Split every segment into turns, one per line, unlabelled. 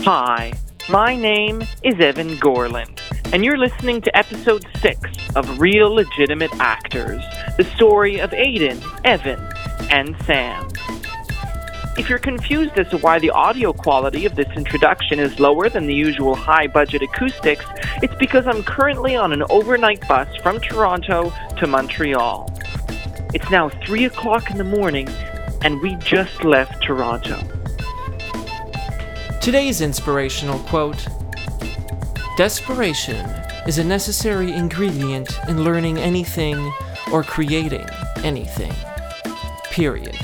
Hi, my name is Evan Gorland, and you're listening to episode six of Real Legitimate Actors the story of Aiden, Evan, and Sam. If you're confused as to why the audio quality of this introduction is lower than the usual high budget acoustics, it's because I'm currently on an overnight bus from Toronto to Montreal. It's now 3 o'clock in the morning, and we just left Toronto.
Today's inspirational quote Desperation is a necessary ingredient in learning anything or creating anything. Period.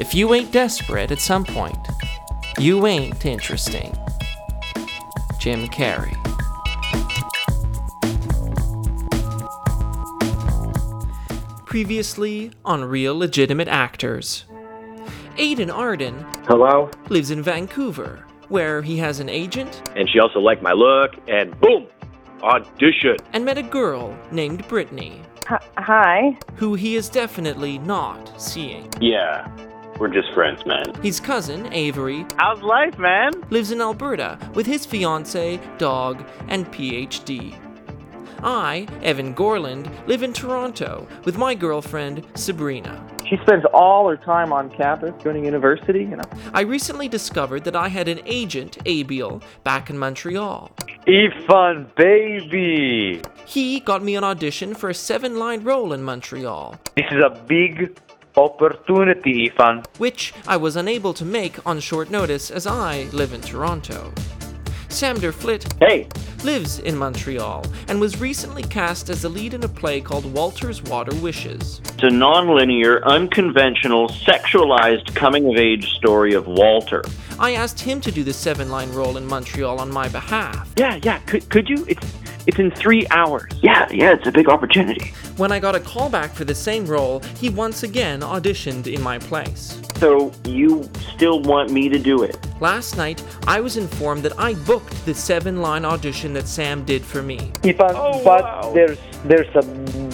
If you ain't desperate at some point, you ain't interesting. Jim Carrey. Previously on Real Legitimate Actors. Aiden Arden
Hello?
lives in Vancouver, where he has an agent
And she also liked my look, and boom! Audition!
and met a girl named Brittany,
Hi.
who he is definitely not seeing.
Yeah, we're just friends, man.
His cousin, Avery,
How's life, man?
lives in Alberta with his fiancee, dog, and PhD. I, Evan Gorland, live in Toronto with my girlfriend, Sabrina.
She spends all her time on campus going to university, you know.
I recently discovered that I had an agent, Abiel, back in Montreal.
Ifan, baby!
He got me an audition for a seven line role in Montreal,
This is a big opportunity, Ifan.
which I was unable to make on short notice as I live in Toronto. Sam Derflit
Hey!
lives in Montreal and was recently cast as the lead in a play called Walter's Water Wishes.
It's a nonlinear, unconventional, sexualized coming of age story of Walter.
I asked him to do the seven line role in Montreal on my behalf.
Yeah, yeah. Could, could you? It's it's in three hours.
Yeah, yeah, it's a big opportunity.
When I got a callback for the same role, he once again auditioned in my place.
So you still want me to do it?
Last night, I was informed that I booked the seven line audition that Sam did for me.
Ipan,
Oh,
but there's there's a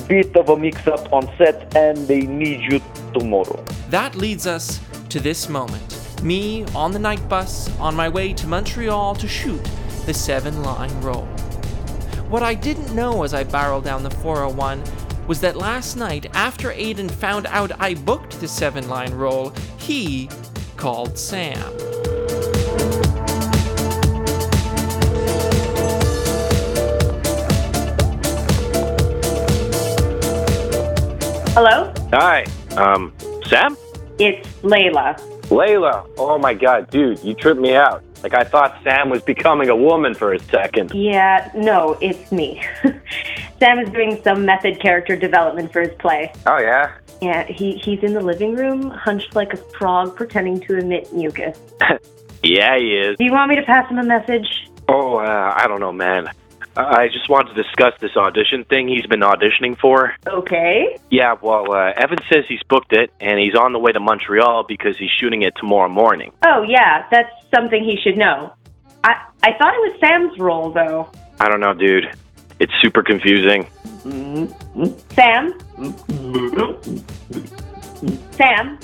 bit of a mix-up on set, and they need you tomorrow.
That leads us to this moment me on the night bus on my way to Montreal to shoot the seven line role. What I didn't know as I barreled down the 401 was that last night, after Aiden found out I booked the seven line role, he called Sam.
Hello?
Hi, um, Sam?
It's Layla.
Layla! Oh my god, dude, you tripped me out. Like, I thought Sam was becoming a woman for a second.
Yeah, no, it's me. Sam is doing some method character development for his play.
Oh, yeah?
Yeah, he, he's in the living room, hunched like a frog, pretending to emit mucus.
Yeah, he is.
Do you want me to pass him a message?
Oh, uh, I don't know, man. I I just wanted to discuss this audition thing he's been auditioning for.
Okay.
Yeah, well, uh, Evan says he's booked it, and he's on the way to Montreal because he's shooting it tomorrow morning.
Oh, yeah, that's something he should know. I, I thought it was Sam's role, though.
I don't know, dude. It's super confusing.
Sam? Sam?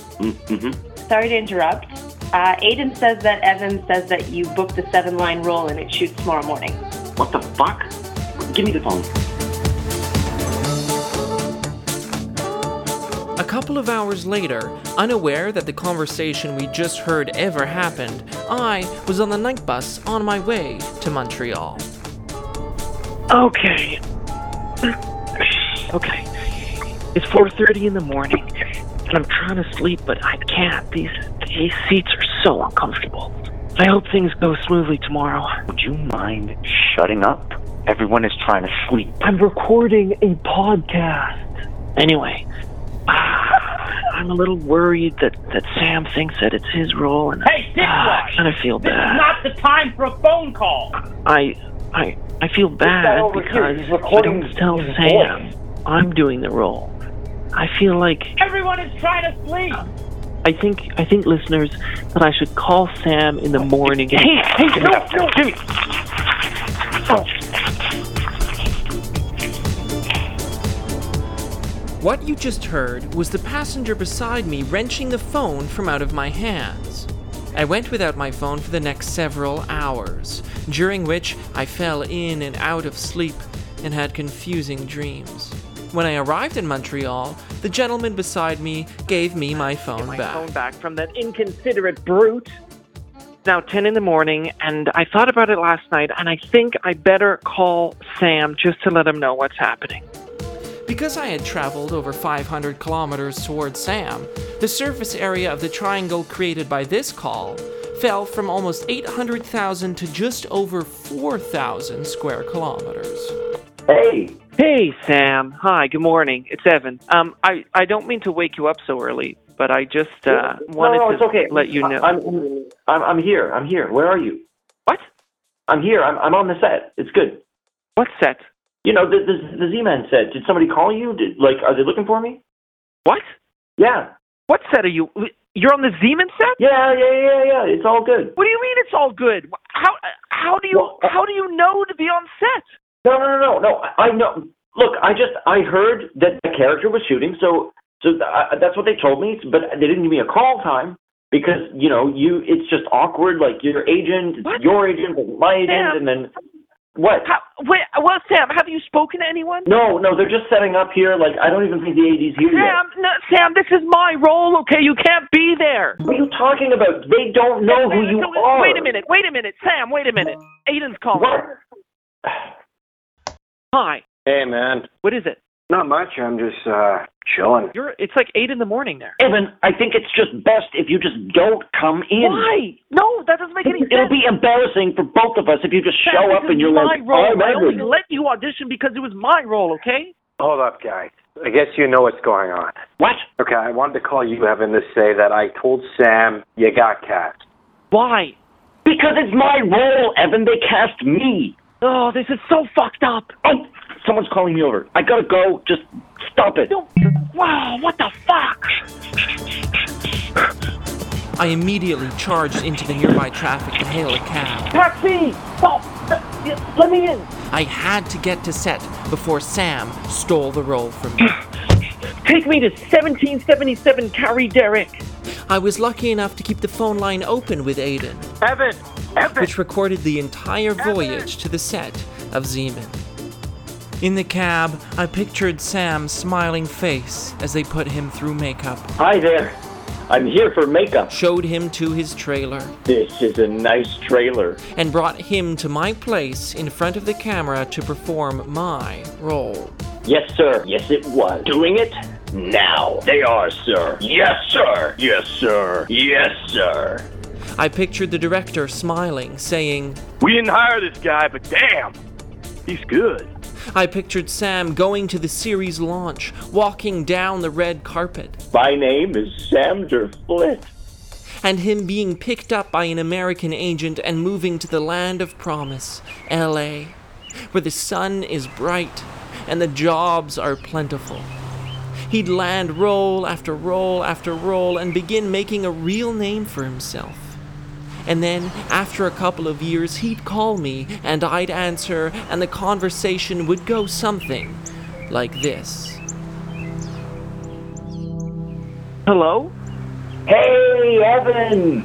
Sorry to interrupt. Uh, Aiden says that Evan says that you booked the seven line role and it shoots tomorrow morning.
What the fuck? Give me the phone.
A couple of hours later, unaware that the conversation we just heard ever happened, I was on the night bus on my way to Montreal.
Okay. Okay. It's 4:30 in the morning, and I'm trying to sleep, but I can't. These these seats are so uncomfortable. I hope things go smoothly tomorrow.
Would you mind shutting up? Everyone is trying to sleep.
I'm recording a podcast. Anyway, I'm a little worried that, that Sam thinks that it's his role, and
Hey,
I
dickwad!
kind of feel
This is
bad.
not the time for a phone call.
I I I feel
that
bad
over here.
because
He's
if I
recording
don't tell
his
Sam I'm doing the role. I feel like
Everyone is trying to sleep.
I think I think listeners that I should call Sam in the morning. Hey, hey, no, no, Jimmy.
What you just heard was the passenger beside me wrenching the phone from out of my hands.
I went without my phone for the next several hours, during which I fell in and out of sleep and had confusing dreams. When I arrived in Montreal, the gentleman beside me gave me my phone
my
back.
phone back from that inconsiderate brute. It's now 10 in the morning, and I thought about it last night, and I think I better call Sam just to let him know what's happening.
Because I had traveled over 500 kilometers towards Sam, the surface area of the triangle created by this call fell from almost 800,000 to just over 4,000 square kilometers.
Hey,
Hey, Sam. Hi, good morning. It's Evan. Um, I, I don't mean to wake you up so early, but I just uh, wanted
no, no, it's
to
okay.
let you know.
I, am I'm, I'm here. I'm here. Where are you?
what?
I'm here. I'm, I'm on the set. It's good.
What set?
You know, the, the, the Z-Man set. Did somebody call you? Did, like, are they looking for me?
What?
Yeah.
What set are you? You're on the Zeman set?
Yeah, yeah, yeah, yeah. It's all good.
What do you mean it's all good? How how do you
Well, uh,
how do you know to be on set?
No, no, no, no, no. I I know. Look, I just I heard that the character was shooting, so so th- I, that's what they told me. But they didn't give me a call time because you know you it's just awkward. Like your agent, it's
What?
your agent, it's my agent,
Sam.
and then what?
How, wait, well, Sam, have you spoken to anyone?
No, no, they're just setting up here. Like I don't even think the AD's here yet.
Sam, no, Sam, this is my role. Okay, you can't be there.
What are you talking about? They don't know who you
Wait
are.
a minute. Wait a minute, Sam. Wait a minute. Aiden's calling.
What?
Hi.
Hey, man.
What is it?
Not much. I'm just uh chilling.
You're. It's like eight in the morning there.
Evan, I think it's just best if you just don't come in.
Why? No, that doesn't make any sense.
It'll be embarrassing for both of us if you just
Sam,
show
this
up
is
and you're
my
like,
role.
I'm
I only
Evan.
let you audition because it was my role. Okay.
Hold up, guys. I guess you know what's going on.
What?
Okay, I wanted to call you, Evan, to say that I told Sam you got cast.
Why?
Because it's my role, Evan. They cast me.
Oh, this is so fucked up.
Oh, someone's calling me over. I gotta go. Just stop it.
Don't. Wow. What the fuck?
I immediately charged into the nearby traffic to hail a cab.
Taxi. Stop. Let me in.
I had to get to set before Sam stole the role from me.
Take me to 1777 Carrie Derrick.
I was lucky enough to keep the phone line open with Aiden,
Evan! Evan!
which recorded the entire voyage to the set of Zeman. In the cab, I pictured Sam's smiling face as they put him through makeup,
Hi there. I'm here for makeup.
showed him to his trailer,
This is a nice trailer.
and brought him to my place in front of the camera to perform my role.
Yes, sir. Yes, it was. Doing it now. They are, sir. Yes, sir. Yes, sir. Yes, sir.
I pictured the director smiling, saying,
We didn't hire this guy, but damn, he's good.
I pictured Sam going to the series launch, walking down the red carpet.
My name is Sam Derflit.
and him being picked up by an American agent and moving to the land of promise, LA, where the sun is bright and the jobs are plentiful. He'd land roll after roll after roll and begin making a real name for himself. And then, after a couple of years, he'd call me and I'd answer, and the conversation would go something like this.
Hello?
Hey, Evan.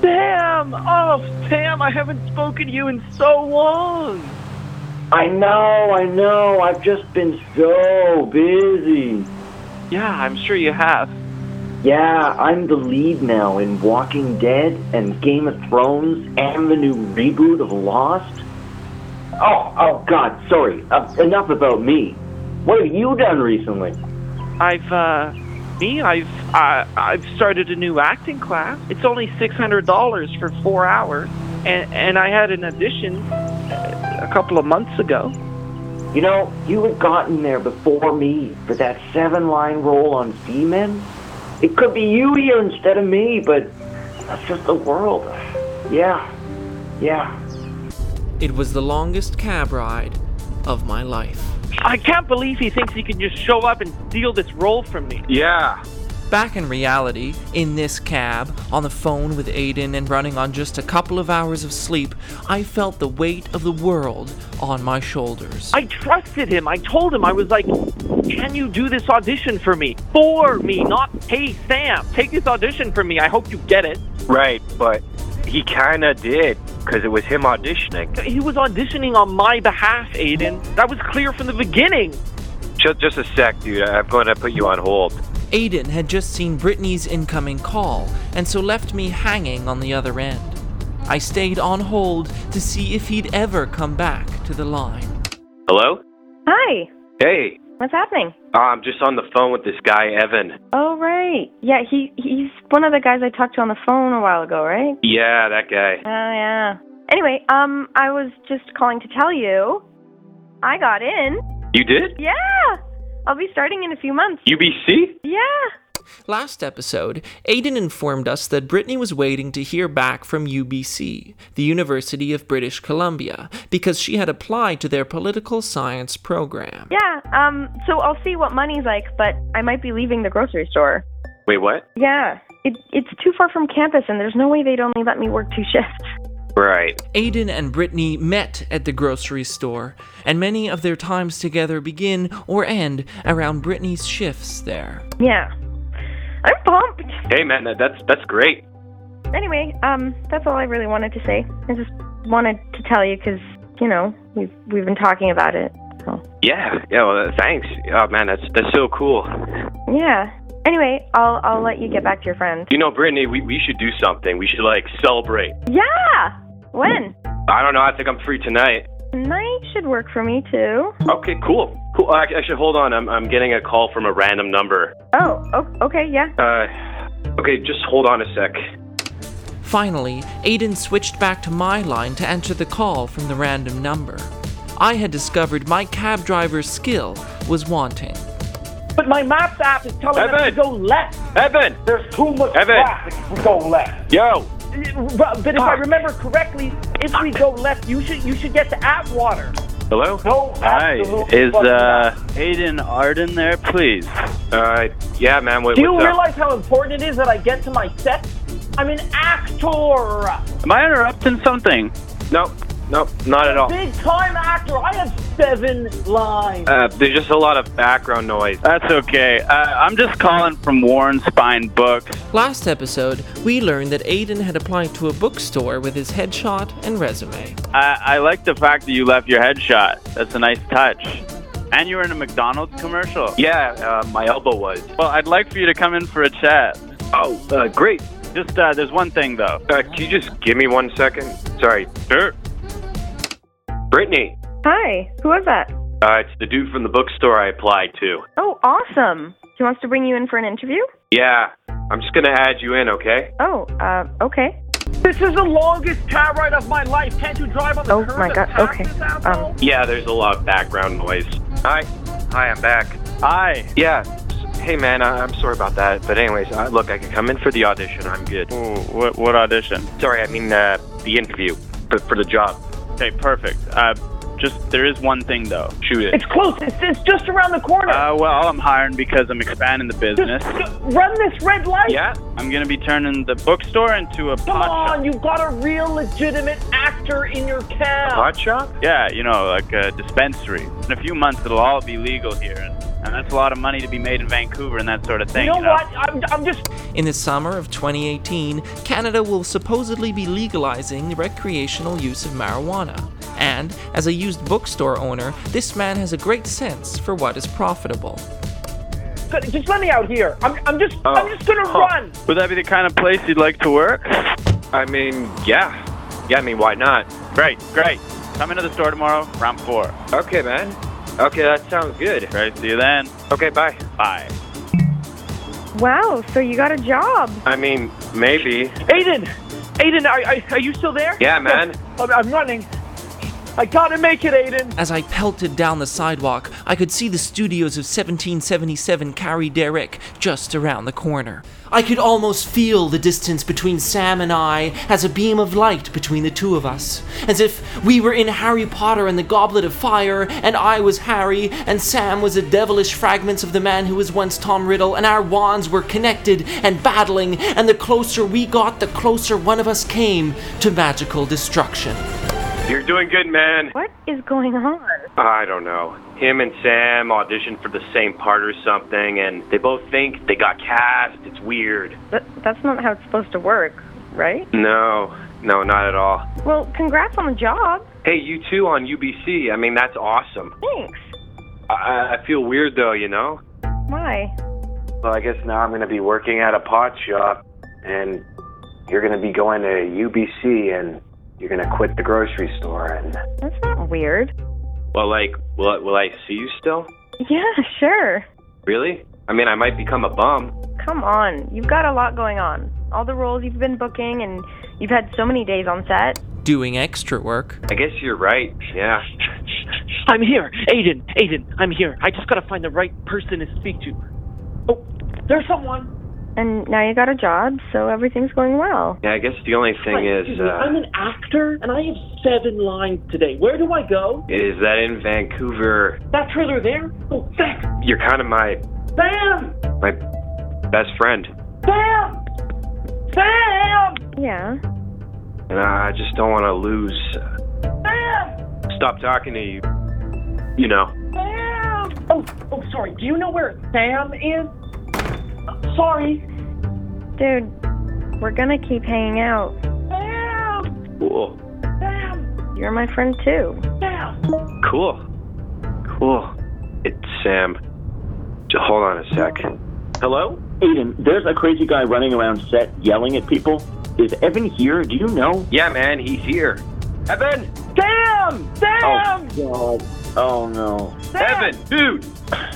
Sam! Oh, Sam, I haven't spoken to you in so long.
I know, I know. I've just been so busy.
Yeah, I'm sure you have.
Yeah, I'm the lead now in Walking Dead and Game of Thrones and the new reboot of Lost. Oh, oh God, sorry. Uh, enough about me. What have you done recently?
I've, uh, me, I've, uh, I've started a new acting class. It's only $600 for four hours, and, and I had an audition uh, a couple of months ago.
You know, you had gotten there before me for that seven-line role on Z-Men. It could be you here instead of me, but that's just the world. Yeah, yeah.
It was the longest cab ride of my life.
I can't believe he thinks he can just show up and steal this role from me.
Yeah.
Back in reality, in this cab, on the phone with Aiden and running on just a couple of hours of sleep, I felt the weight of the world on my shoulders.
I trusted him. I told him, I was like, can you do this audition for me? For me, not, hey, Sam, take this audition for me. I hope you get it.
Right, but he kind of did because it was him auditioning.
He was auditioning on my behalf, Aiden. That was clear from the beginning.
Just, just a sec, dude. I'm going to put you on hold.
Aiden had just seen Brittany's incoming call and so left me hanging on the other end. I stayed on hold to see if he'd ever come back to the line.
Hello?
Hi.
Hey,
What's happening?
I'm just on the phone with this guy, Evan.
Oh right. Yeah, he he's one of the guys I talked to on the phone a while ago, right?
Yeah, that guy.
Oh yeah. Anyway, um I was just calling to tell you I got in.
You did?
Yeah. I'll be starting in a few months.
UBC?
Yeah.
Last episode, Aiden informed us that Brittany was waiting to hear back from UBC, the University of British Columbia, because she had applied to their political science program.
Yeah. Um so I'll see what money's like, but I might be leaving the grocery store.
Wait, what?
Yeah. It it's too far from campus and there's no way they'd only let me work two shifts.
Right.
Aiden and Brittany met at the grocery store, and many of their times together begin or end around Brittany's shifts there.
Yeah. I'm pumped.
Hey, man, that- that's that's great.
Anyway, um that's all I really wanted to say. I just wanted to tell you cuz you know, we've we've been talking about it. So
Yeah, yeah. Well, thanks. Oh man, that's that's so cool.
Yeah. Anyway, I'll I'll let you get back to your friends.
You know, Brittany, we, we should do something. We should like celebrate.
Yeah. When?
I don't know. I think I'm free tonight.
Night should work for me too.
Okay, cool. Cool. I, I should hold on. I'm I'm getting a call from a random number.
Oh, o- okay, yeah.
Uh, okay, just hold on a sec.
Finally, Aiden switched back to my line to answer the call from the random number. I had discovered my cab driver's skill was wanting.
But my maps app is telling us to
Evan!
go left.
Evan,
There's too much
Evan. Ah!
traffic if we go left.
yo.
But, but if I remember correctly, if we go left, you should you should get to Atwater.
Hello.
No,
Hi,
absolutely
is
fucking
uh,
not.
Aiden Arden there, please?
Uh, yeah, man. Wait,
Do you
what's up?
realize how important it is that I get to my set? I'm an actor,
Am I interrupting something?
No, no, not at all.
big time actor. I have seven lines.
Uh, there's just a lot of background noise.
That's okay. Uh, I'm just calling from Warren Spine Books.
Last episode, we learned that Aiden had applied to a bookstore with his headshot and resume.
I, I like the fact that you left your headshot. That's a nice touch. And you were in a McDonald's commercial.
Yeah, uh, my elbow was.
Well, I'd like for you to come in for a chat.
Oh, uh, great.
Just uh, there's one thing though.
Uh, can you just give me one second? Sorry,
Sure.
Brittany.
Hi. Who was that?
Uh, it's the dude from the bookstore I applied to.
Oh, awesome. He wants to bring you in for an interview?
Yeah, I'm just gonna add you in, okay?
Oh, uh, okay.
This is the longest car ride of my life. Can't you drive on the
Oh
curb
my
and
God,
pass
okay.
this asshole?
Um,
Yeah, there's a lot of background noise. Hi, hi, I'm back.
Hi.
Yeah, s- hey man, I- I'm sorry about that, but anyways, uh, look, I can come in for the audition. I'm good.
Ooh, what what audition?
Sorry, I mean uh, the interview for, for the job.
Okay, perfect. Uh, just there is one thing though.
Shoot it.
It's close. It's, it's just around the corner.
Uh, well, I'm hiring because I'm expanding the business.
just run this red light.
Yeah,
I'm gonna be turning the bookstore into a
Come
pot shop.
on, you've got a real legitimate actor in your cab.
hot shop.
Yeah, you know, like a dispensary. In a few months, it'll all be legal here, and, and that's a lot of money to be made in Vancouver and that sort of
you
thing.
know what? I'm, I'm just
In the summer of 2018, Canada will supposedly be legalizing the recreational use of marijuana. And, as a used bookstore owner, this man has a great sense for what is profitable.
just let me out here. I'm, I'm just
Oh,
I'm just gonna
Huh.
run.
Would that be the kind of place you'd like to work?
I mean, yeah, yeah. I mean, why not?
Great, great. Come into the store tomorrow, round four.
Okay, man. Okay, that sounds good.
Great, see you then.
Okay, bye.
Bye.
wow, so you got a job.
I mean, maybe.
Aiden, Aiden, are, are, are you still there?
Yeah, man.
I'm, I'm running. I gotta make it, Aiden.
As I pelted down the sidewalk, I could see the studios of 1777 Carrie Derrick just around the corner. I could almost feel the distance between Sam and I as a beam of light between the two of us, as if we were in Harry Potter and the Goblet of Fire, and I was Harry, and Sam was the devilish fragments of the man who was once Tom Riddle, and our wands were connected and battling, and the closer we got, the closer one of us came to magical destruction.
You're doing good, man.
What is going on?
I don't know. Him and Sam auditioned for the same part or something, and they both think they got cast. It's weird.
That, that's not how it's supposed to work, right?
No, no, not at all.
Well, congrats on the job.
Hey, you two on UBC. I mean, that's awesome.
Thanks.
I, I feel weird though, you know.
Why?
Well, I guess now I'm going to be working at a pot shop, and you're going to be going to UBC, and you're going to quit the grocery store. And
That's not weird.
well, like, will I- will I see you still?
Yeah, sure.
Really? I mean, I might become a bum.
Come on. You've got a lot going on. All the roles you've been booking, and you've had so many days on set.
Doing extra work.
I guess you're right. Yeah.
I'm here, Aiden. Aiden, I'm here. I just gotta find the right person to speak to. Oh, there's someone.
And now you got a job, so everything's going well.
Yeah, I guess the only thing
Hi,
is,
excuse me,
uh,
I'm an actor, and I have seven lines today. Where do I go?
uh, is that in Vancouver?
That trailer there? Oh, thanks.
You're kind of my
Sam!
my best friend,
Sam! Sam!
Yeah.
and I just don't want to lose. uh,
Sam!
Stop talking to you. You know.
Sam! Oh, oh, sorry. Do you know where Sam is? Uh, Sorry.
Dude, we're gonna keep hanging out.
Sam!
Cool.
Sam!
You're my friend too.
Sam!
Cool. Cool. It's Sam. J- Hold on a sec. Hello?
Aiden, there's a crazy guy running around set yelling at people. Is Evan here? Do you know?
Yeah, man, he's here. Evan!
Oh,
Sam! Sam!
God. Oh no.
Evan, dude!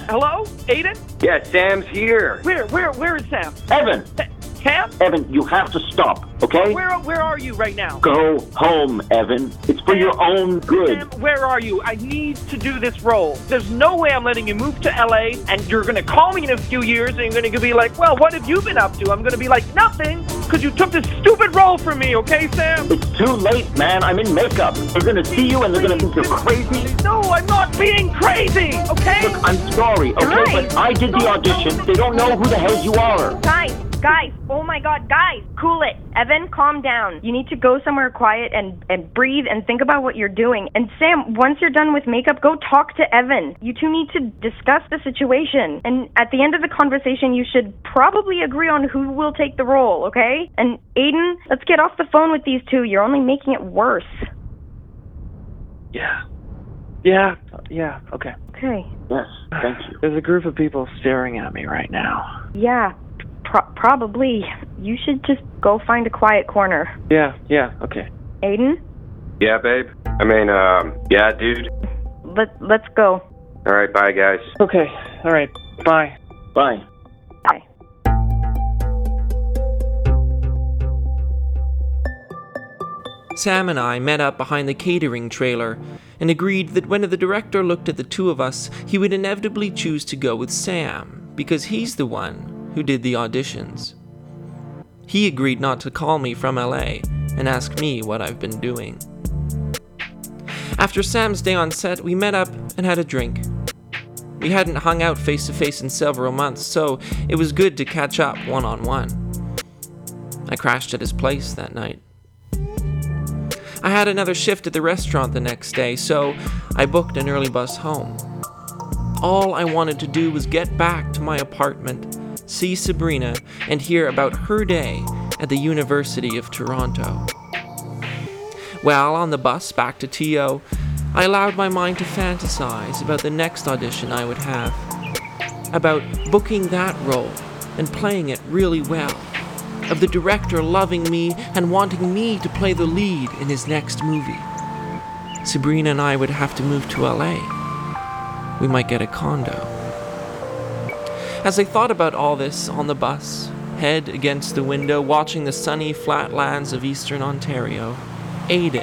Hello? Aiden?
Yeah, Sam's here.
Where, where, where is Sam?
Evan!
Sam?
Evan, you have to stop, okay?
Where, where are you right now?
Go home, Evan. It's for your own good.
Sam, where are you? I need to do this role. There's no way I'm letting you move to LA and you're going to call me in a few years and you're going to be like, well, what have you been up to? I'm going to be like, nothing, because you took this stupid role from me, okay, Sam?
It's too late, man. I'm in makeup. They're gonna see you and they're gonna think you're crazy.
No, I'm not being crazy, okay?
Look, I'm sorry, okay? But I did the audition. They don't know who the hell you are.
Guys, guys, oh my god, guys, cool it. Evan, calm down. You need to go somewhere quiet and, and breathe and think about what you're doing. And Sam, once you're done with makeup, go talk to Evan. You two need to discuss the situation. And at the end of the conversation, you should probably agree on who will take the role, okay? And Aiden, let's get off the phone with these two. You're only making it worse.
Yeah. Yeah, yeah, okay.
Okay.
Yes, thank you.
There's a group of people staring at me right now.
Yeah, pro- probably. You should just go find a quiet corner.
Yeah, yeah, okay.
Aiden,
Yeah, babe? I mean, um, yeah, dude.
let let's go.
All right, bye, guys.
Okay, alright, bye.
Bye.
Bye.
Sam and I met up behind the catering trailer and agreed that when the director looked at the two of us, he would inevitably choose to go with Sam because he's the one who did the auditions. He agreed not to call me from LA and ask me what I've been doing. After Sam's day on set, we met up and had a drink. We hadn't hung out face to face in several months, so it was good to catch up one on one. I crashed at his place that night. I had another shift at the restaurant the next day, so I booked an early bus home. All I wanted to do was get back to my apartment, see Sabrina, and hear about her day at the University of Toronto. Well, on the bus back to TO, I allowed my mind to fantasize about the next audition I would have, about booking that role and playing it really well, of the director loving me and wanting me to play the lead in his next movie. Sabrina and I would have to move to LA. We might get a condo. As I thought about all this on the bus, head against the window, watching the sunny flatlands of eastern Ontario, Aiden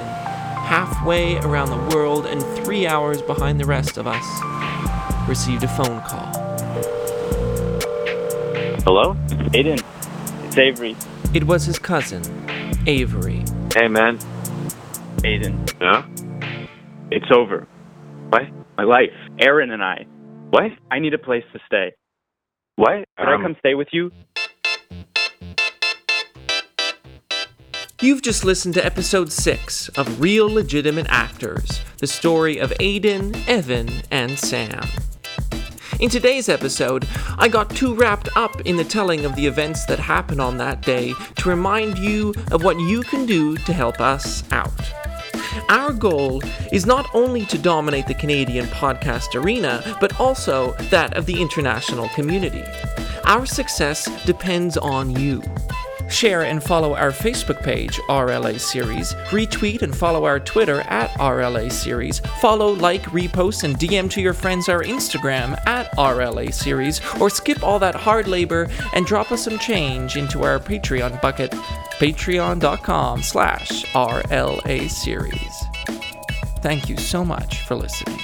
halfway around the world and three hours behind the rest of us, received a phone call.
Hello? Aiden. It's Avery.
It was his cousin, Avery.
Hey, man. Aiden. Yeah? It's over. What? My life. Aaron and I. What? I need a place to stay. What? Could
Um,
I come stay with you?
You've just listened to episode 6 of Real Legitimate Actors, the story of Aiden, Evan, and Sam. In today's episode, I got too wrapped up in the telling of the events that happened on that day to remind you of what you can do to help us out. Our goal is not only to dominate the Canadian podcast arena, but also that of the international community. Our success depends on you. Share and follow our Facebook page, RLA Series. Retweet and follow our Twitter at RLA Series. Follow, like, repost, and DM to your friends our Instagram at RLA Series. Or skip all that hard labor and drop us some change into our Patreon bucket, patreon.com slash RLA Series. Thank you so much for listening.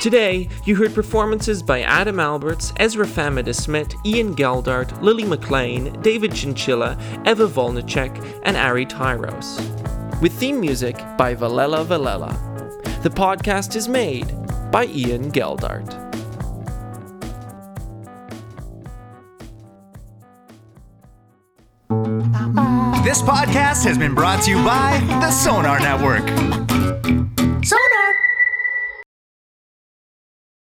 Today, you heard performances by Adam Alberts, Ezra Famida Smith, Ian Geldart, Lily McLean, David Chinchilla, Eva Volnicek, and Ari Tyros. With theme music by Valella Valella. The podcast is made by Ian Geldart.
This podcast has been brought to you by the Sonar Network.